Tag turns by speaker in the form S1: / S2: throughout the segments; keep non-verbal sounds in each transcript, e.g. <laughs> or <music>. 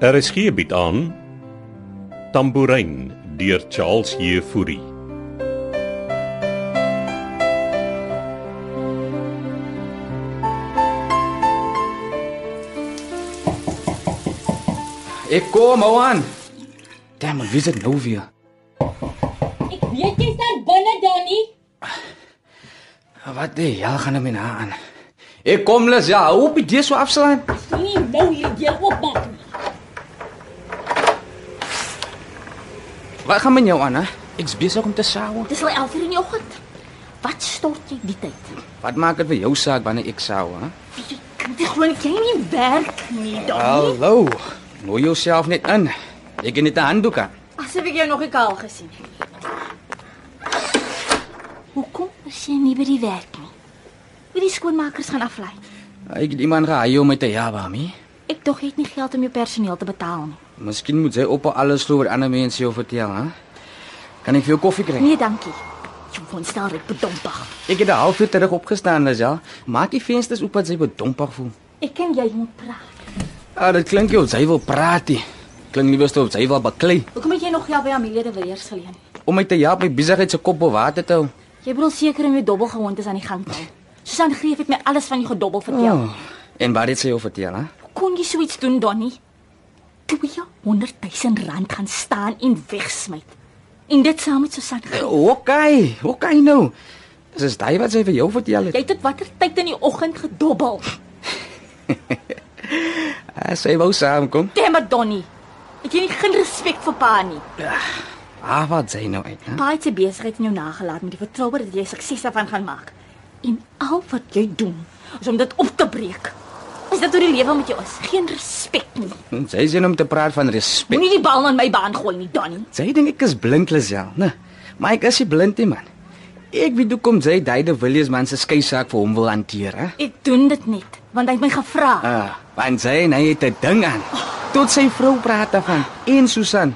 S1: RSG bied Er aan Tambourin deur Charles Jefouri.
S2: Ek kom hou aan. Damn, wie is dit nou weer?
S3: Ek weet jy staan binne dan nie.
S2: Wat die hel gaan hom in haar aan? Ek kom les ja, hoop jy dis so afslaan.
S3: Nie nou hier deur oopmaak nie.
S2: Wat gaan met jou aan, hè? Ek's besig om te saai.
S3: Dis al 11:00 in die oggend. Wat stort jy die tyd?
S2: Wat maak dit vir jou saak wanneer ek saai, hè?
S3: Weet Jy kan dit glo nie jy nie werk nie dan nie.
S2: Hallo. Nooi jouself net in. Ek het net 'n handdoek aan.
S3: Asof ek jou nog nie kaal gesien het. Hoekom is jy nie by die werk nie? Wie die skoonmakers gaan aflei.
S2: Ek het iemand gehaai om my te help, mami.
S3: Ek dog jy het nie geld om jou personeel te betaal nie.
S2: Miskien moet sy op al alles glo wat ander mense jou vertel, hè? Kan ek vir jou koffie kry?
S3: Nee, dankie. Jy kon staan reg bedomdag.
S2: Ek het 'n halfuur terug opgestaan, les ja. Maak die vensters oop dat sy bedompig voel.
S3: Ek ken jy moet praat.
S2: Ah, dit klink jy of sy wil praat. nie. Klink nie beste of sy wil baklei.
S3: Hoekom het jy nog geld by Amelia de Villiers geleen?
S2: Om my te help my besigheid se kop bo water te hou.
S3: Jy bedoel seker om jou dobbelgewoontes aan die gang te hou. Susan Greef het my alles van jou gedobbel vertel.
S2: Oh. En wat het sy jou vertel, hè?
S3: Oh. Kon jy so iets doen, Donnie? 200 000 rand gaan staan en wegsmyt. En dit saam met Susan Greef.
S2: Okay, okay nou. Dis is daai wat sy vir jou vertel het.
S3: Jy het tot watter tyd in die oggend gedobbel?
S2: Ah, sy wou saamkom.
S3: Temmer Donnie. Het jy nie geen respek vir pa nie?
S2: Ah, wat sê nou uit, hè?
S3: Pa het sy besigheid in jou nagelaat met die vertroue dat jy sukses daarvan gaan maak. En al wat jy doen, is om dit op te breek. Is dit hoe die lewe met jou is? Geen respek nie.
S2: Hm, Sy sê om te praat van respek.
S3: Moenie die bal aan my baan gooi nie, Donnie.
S2: Sy dink ek is blind lesel, né? Maar ek is nie blind nie, man. Ek weet hoe kom sy daai de Villiers man se skei saak vir hom wil hanteer, hè?
S3: Ek doen dit net want hy het my gevra.
S2: Ah, want sy en hy het 'n ding aan. Tot sy vrou praat daarvan en Susan.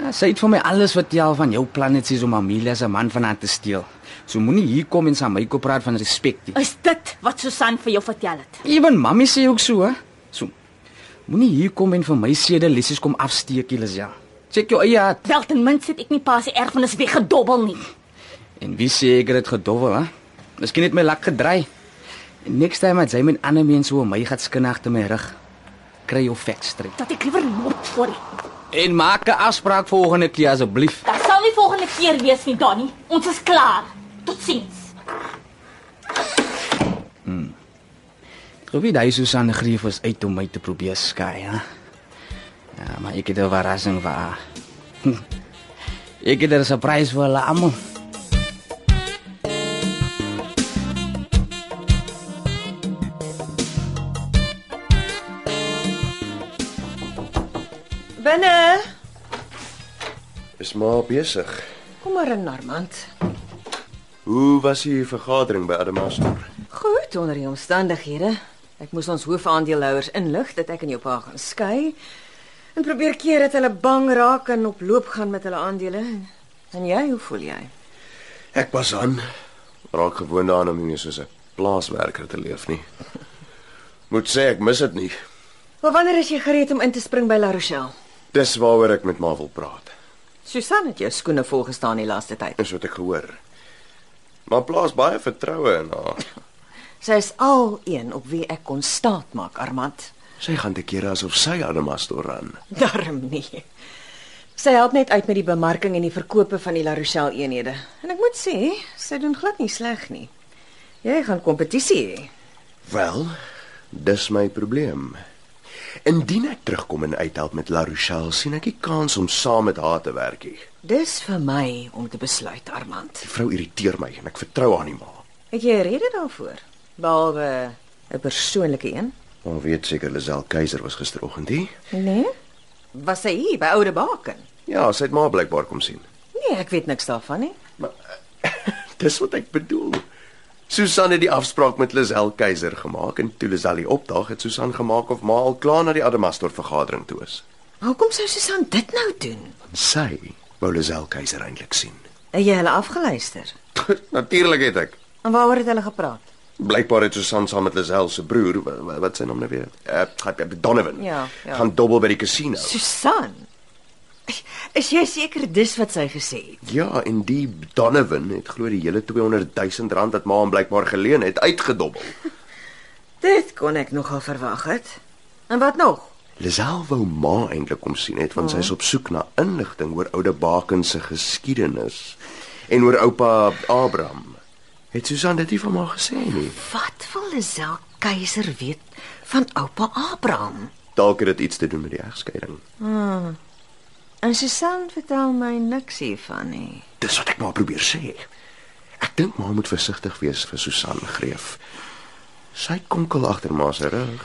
S2: Ah, Sy het vir my alles vertel van jou plannetjies om Amelia se man van haar te steel. So moenie hier kom en saam my kop praat van respek nie.
S3: Is dit wat Susan vir jou vertel het?
S2: Ewen mammy sê ook so, hè? So. Moenie hier kom en vir my sede lessies kom afsteek, Elisel. Check jou eie hart.
S3: Wel ten minste het ek nie pa se erfenis weggedobbel nie.
S2: En wie sê ek het dit gedowe, hè? Miskien het my lak gedraai. Next time as jy met ander mense oor my gaat skinnig te my rug, kry jou facts straight.
S3: Dat ek liewer loop voor hom.
S2: En maak 'n afspraak volgende keer asseblief.
S3: Daar sal nie volgende keer wees nie, Donnie. Ons is klaar. Totsiens.
S2: Probeer daai Susan Greef was uit om my te probeer skei, hè. Ja, maar ek het 'n verrassing vir haar. Hm. ek het 'n surprise vir hulle almal.
S4: Binne.
S5: Is maar besig.
S4: Kom maar in, Normand.
S5: Hoe was die vergadering by Adamastor?
S4: Goed onder die omstandighede. Ek moes ons hoofaandeelhouers inlig dat ek en jou pa gaan skei en probeer keer dat hulle bang raak en op loop gaan met hulle aandele. En jy, hoe voel jy?
S5: Ek was aan raak gewoond daaraan om nie meer soos 'n plaaswerker te leef nie. Moet sê ek mis dit nie.
S4: Maar wanneer is jy gereed om in te spring by La Rochelle?
S5: Dis waaroor ek met Ma wil praat.
S4: Susan het jou skoene vol gestaan die laaste tyd.
S5: Dis wat ek gehoor. Maar plaas baie vertroue in haar.
S4: Sy is al een op wie ek kon staatmaak, Armand.
S5: Sy gaan te kere asof sy Adamastor ran.
S4: <laughs> Darm nie. Sy help net uit met die bemarking en die verkope van die La Rochelle eenhede. En ek moet sê, sy doen glad nie sleg nie. Jy gaan kompetisie hê.
S5: Wel, dis my probleem. Indien ek terugkom en uithelp met La Rochelle, sien ek nie kans om saam met haar te werk nie.
S4: Dis vir my om te besluit, Armand.
S5: Die vrou irriteer my en ek vertrou haar nie maar.
S4: Het jy 'n rede daarvoor? Behalwe 'n persoonlike een?
S5: Maar weet seker Lisel Keiser was gisteroggend hier.
S4: Nee. Was sy hier by Oude Baken?
S5: Ja, sy het maar blykbaar kom sien.
S4: Nee, ek weet niks daarvan nie.
S5: <laughs> Dis wat ek bedoel. Susan het die afspraak met Lisel Keiser gemaak en toe Lisel hier opdaag het Susan gemaak of maar al klaar na die Adamastor vergadering toe is.
S4: Hoekom sou Susan dit nou doen?
S5: Sy wou Lisel Keiser eintlik sien. <laughs>
S4: Het jy hulle afgeluister?
S5: Natuurlik het ek.
S4: En waaroor het hulle gepraat?
S5: Blykbaar het Susan saam met Lisel se broer, wa- wa- wat sy naam nou weer, eh uh, Donovan,
S4: Ja, ja.
S5: gaan dobbel by die casino.
S4: Susan. Is jy seker dis wat sy gesê het?
S5: Ja, en die Donovan het glo die hele 200 000 rand wat ma hom blykbaar geleen het uitgedobbel.
S4: Dit kon ek nogal verwag het. En wat nog?
S5: Lisel wou ma eintlik kom sien het want sy is op soek na inligting oor oude Baken se geskiedenis en oor oupa Abraham. Het Susan dit nie van ma gesê nie?
S4: Wat wil Lisel Keiser weet van oupa Abraham?
S5: Dalk het dit iets te doen met die egskeiding.
S4: En Susan vertel my niks hiervan nie.
S5: Dis wat ek maar probeer sê. Ek dink maar moet versigtig wees vir Susan Greef. Sy konkel agter maar se rug.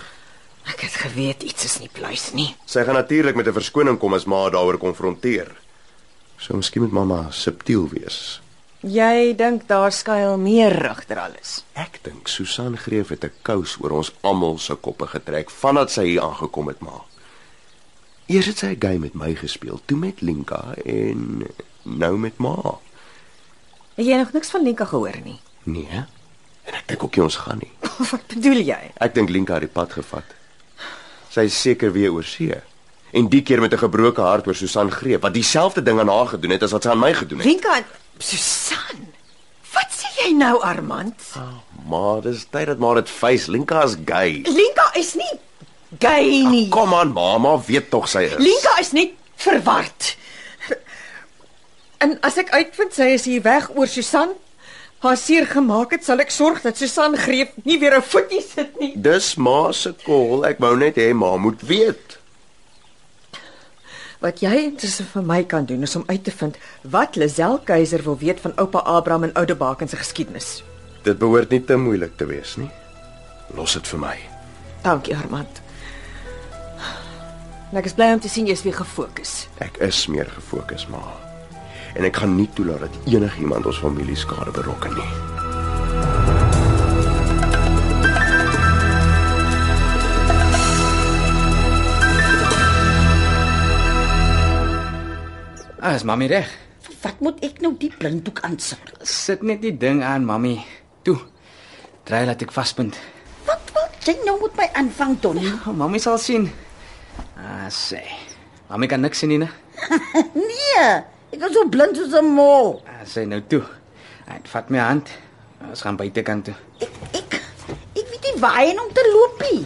S4: Ek het geweet iets is nie pluis nie.
S5: Sy gaan natuurlik met 'n verskoning kom as ma daaroor konfronteer. So miskien moet mamma subtiel wees.
S4: Jy dink daar skuil meer agter alles.
S5: Ek dink Susan Greef het 'n kous oor ons almal se koppe getrek vandat sy hier aangekom het, ma. Eers het sy 'n game met my gespeel, toe met Linka en nou met ma.
S4: Het jy nog niks van Lenka gehoor nie?
S5: Nee. hè? En ek dink ook nie ons gaan nie.
S4: <laughs> wat bedoel jy?
S5: Ek dink Linka het die pad gevat. Sy is seker weer oor see. En die keer met 'n gebroke hart oor Susan Greep wat dieselfde ding aan haar gedoen het as wat sy aan my gedoen het.
S4: Lenka, Susan. Wat sê jy nou, Armand?
S5: Maar dis tyd dat maar dit face. Linka is gay.
S4: Lenka is nie gay nie.
S5: Ach, kom aan, mamma, weet tog sy is.
S4: Nee. Linka is net verward. En as ek uitvind sy is hier weg oor Susan, haar seer gemaak het, sal ek sorg dat Susan greep nie weer 'n voetjie sit nie.
S5: Dis ma se kol. Ek wou net hê ma moet weet.
S4: Wat jy intussen vir my kan doen is om uit te vind wat Lisel Keiser wil weet van oupa Abraham en oude Baken se geskiedenis.
S5: Dit behoort nie te moeilik te wees nie. Los dit vir my.
S4: Dankie, Armand. En ek is bly om te sien jy's weer gefokus.
S5: Ek is meer gefokus, ma. En ek gaan nie toelaat dat enigiemand ons familie skade berokken nie.
S2: Ah, is mami reg?
S6: Wat moet ek nou die blinddoek aansit?
S2: Sit net die ding aan, mami. Toe. Draai laat ek vaspunt.
S6: Wat wil jy nou met my aanvang, Donnie?
S2: Oh, mami sal sien. Ah, sê. Mami kan niks sien nie, né?
S6: Nee, ek is so blind soos 'n mol.
S2: Ah, sê nou toe. Hy vat my hand. Ons gaan buitekant toe.
S6: Ek ek ek weet nie waarheen om te loop nie.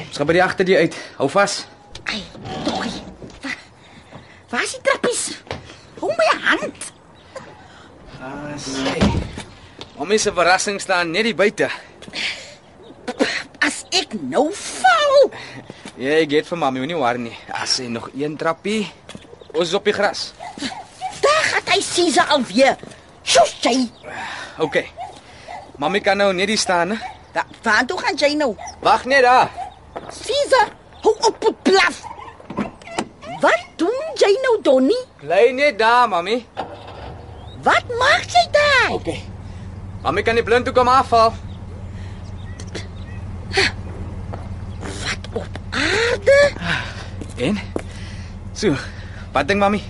S2: Ons gaan by die agter die uit. Hou vas.
S6: Ai, Donnie. Wa- Waar is die trappies? Hou my hand.
S2: Ah, sê. Mami se verrassing staan net die buite.
S6: As ek nou val.
S2: Jy gee vir mami, moenie waar nie. Ah, sê nog een trappie. Ons is op die gras.
S6: Daar gaan hy Caesar alweer. Sjoes jy.
S2: OK. Mami kan nou net hier staan, né?
S6: Da, waar toe gaan jy nou?
S2: Wag net daar.
S6: Caesar, hou op met blaf. Wat doen jy nou, Donnie?
S2: Bly net daar, mami.
S6: Wat maak jy daar?
S2: OK. Mami kan die blind toe kom afval.
S6: Wat op aarde?
S2: En? So. Wat dink mami?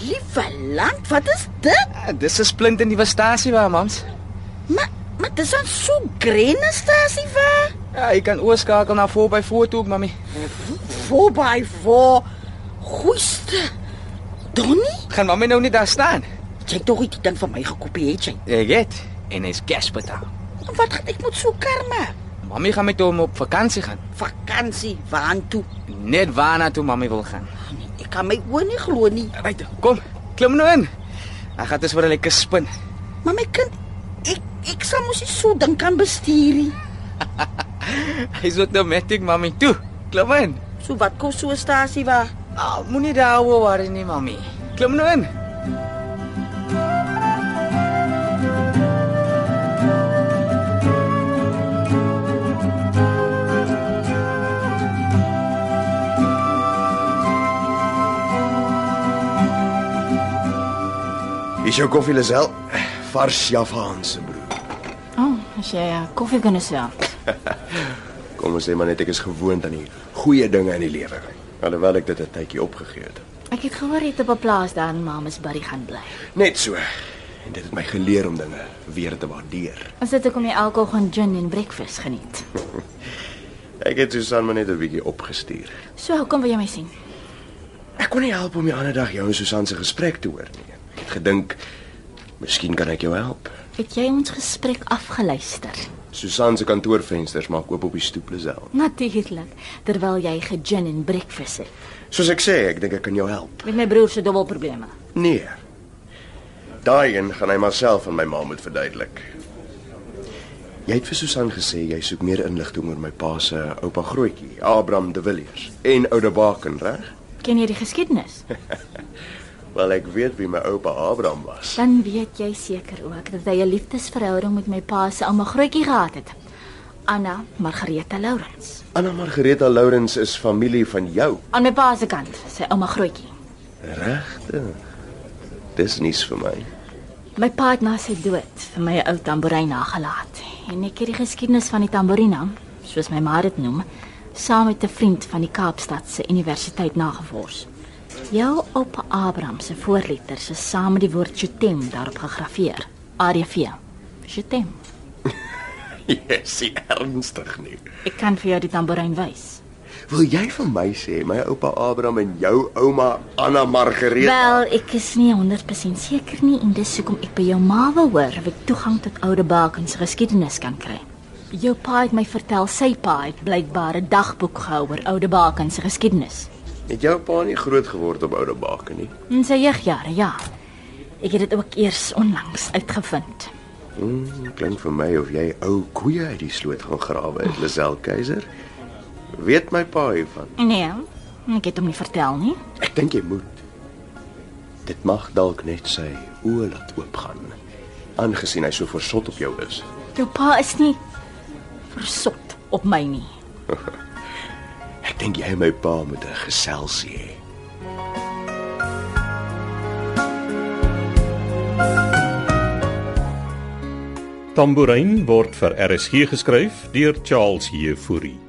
S6: Liewe land, wat is dit?
S2: Ah, dis 'n splint in die stasie waar mams.
S6: Maar maar dis 'n so grene stasie waar?
S2: Ja, jy kan oorskakel na voor by voor toe, ook, mami.
S6: Voorby voor. Goeieste. Donnie,
S2: Gaan mami nou net daar staan?
S6: jy het tog iets ding van my gekopieer, jy.
S2: Jy weet, en hy's cash betaal.
S6: Wat gaan ek moet so karma?
S2: Mami gaan met hom op vakansie gaan.
S6: Vakansie, waantoe?
S2: Net waarna toe mami wil gaan.
S6: Nee, ek kan my oë nie glo nie.
S2: Right, kom. Klim nou in. Hy gaan dit vir 'n lekker spin.
S6: Maar my kind, ek ek sal mos nie so ding kan bestuur nie.
S2: Hy's ook nou met ek mami toe. Klim in.
S6: So wat kos so 'n stasie waar?
S2: Ah, moenie daar ouwe waar nie mami. Klim nou in.
S5: Hier is jou koffie, Lisel. Vars Javaan se broer.
S3: Oh, as jy uh, koffie kan self.
S5: Kom ons sê maar net ek is gewoond aan die goeie dinge in die lewe. Alhoewel ek dit 'n tydjie opgegee het.
S3: Ek het gehoor jy het op 'n plaas daar in Mamas Barry gaan bly.
S5: Net so. En dit het my geleer om dinge weer te waardeer.
S3: Is dit hoekom jy elke oggend gin en breakfast geniet?
S5: Ek het Susan maar net 'n bietjie opgestuur.
S3: So, hoekom wil jy my sien?
S5: Ek kon nie help om die ander dag jou en Susan se gesprek te hoor nie. Ek het gedink miskien kan ek jou help.
S3: Het jy ons gesprek afgeluister?
S5: Susan se kantoorvensters maak oop op die stoep Lisel.
S3: Natuurlik, terwyl jy gegin en breakfast het.
S5: Soos ek sê, ek dink ek kan jou help.
S3: Met my broer se dubbelprobleme.
S5: Nee. Daai een gaan hy maar self aan my ma moet verduidelik. Jy het vir Susan gesê jy soek meer inligting oor my pa se oupa grootjie, Abraham de Villiers en oude Baken, reg?
S3: Ken jy die geskiedenis?
S5: Wel ek weet wie my oupa Abraham was.
S3: Dan weet jy seker ook dat hy 'n liefdesverhouding met my pa se ouma Grootjie gehad het. Anna Margareta Lourens.
S5: Anna Margareta Lourens is familie van jou,
S3: Aan my pa se kant, sy ouma Grootjie.
S5: regtig? Dis niks vir my.
S3: My pa het na sy dood vir my 'n ou tamboerijn nagelaat en ek het die geskiedenis van die tamboerina, soos my ma dit noem, saam met 'n vriend van die Kaapstadse Universiteit nagevors. Jou oupa Abraham se voorletters is saam met die woord Chetem daarop gegraveer. ADV. Chetem.
S5: Yes, <laughs> jy ernstig nie.
S3: Ek kan vir jou die tamboerijn wys.
S5: Wil jy vir my sê my oupa Abraham en jou ouma Anna Margareta?
S3: Wel, ek is nie 100% seker nie en dis hoekom ek by jou ma wil hoor of ek toegang tot oude bakens geskiedenis kan kry. Jou pa het my vertel sy pa het blykbaar 'n dagboek gehou oor oude bakens se geskiedenis.
S5: het jou pa nie groot geword op oude Baken nie?
S3: In sy jeugjare, ja. Ek het dit ook eers onlangs uitgevind.
S5: Hmm, klink vir my of jy ou koeie uit die sloot gaan grawe, het Lisel Keiser. Weet my pa hiervan.
S3: Nee, ek het hom nie vertel nie.
S5: Ek dink jy moet. Dit mag dalk net sy oë laat oopgaan, aangesien hy so versot op jou is.
S3: Jou pa is nie versot op my nie.
S5: Ek dink jy en my pa moet 'n geselsie hê.
S1: Tambourin word vir RSG geskryf deur Charles Heffury.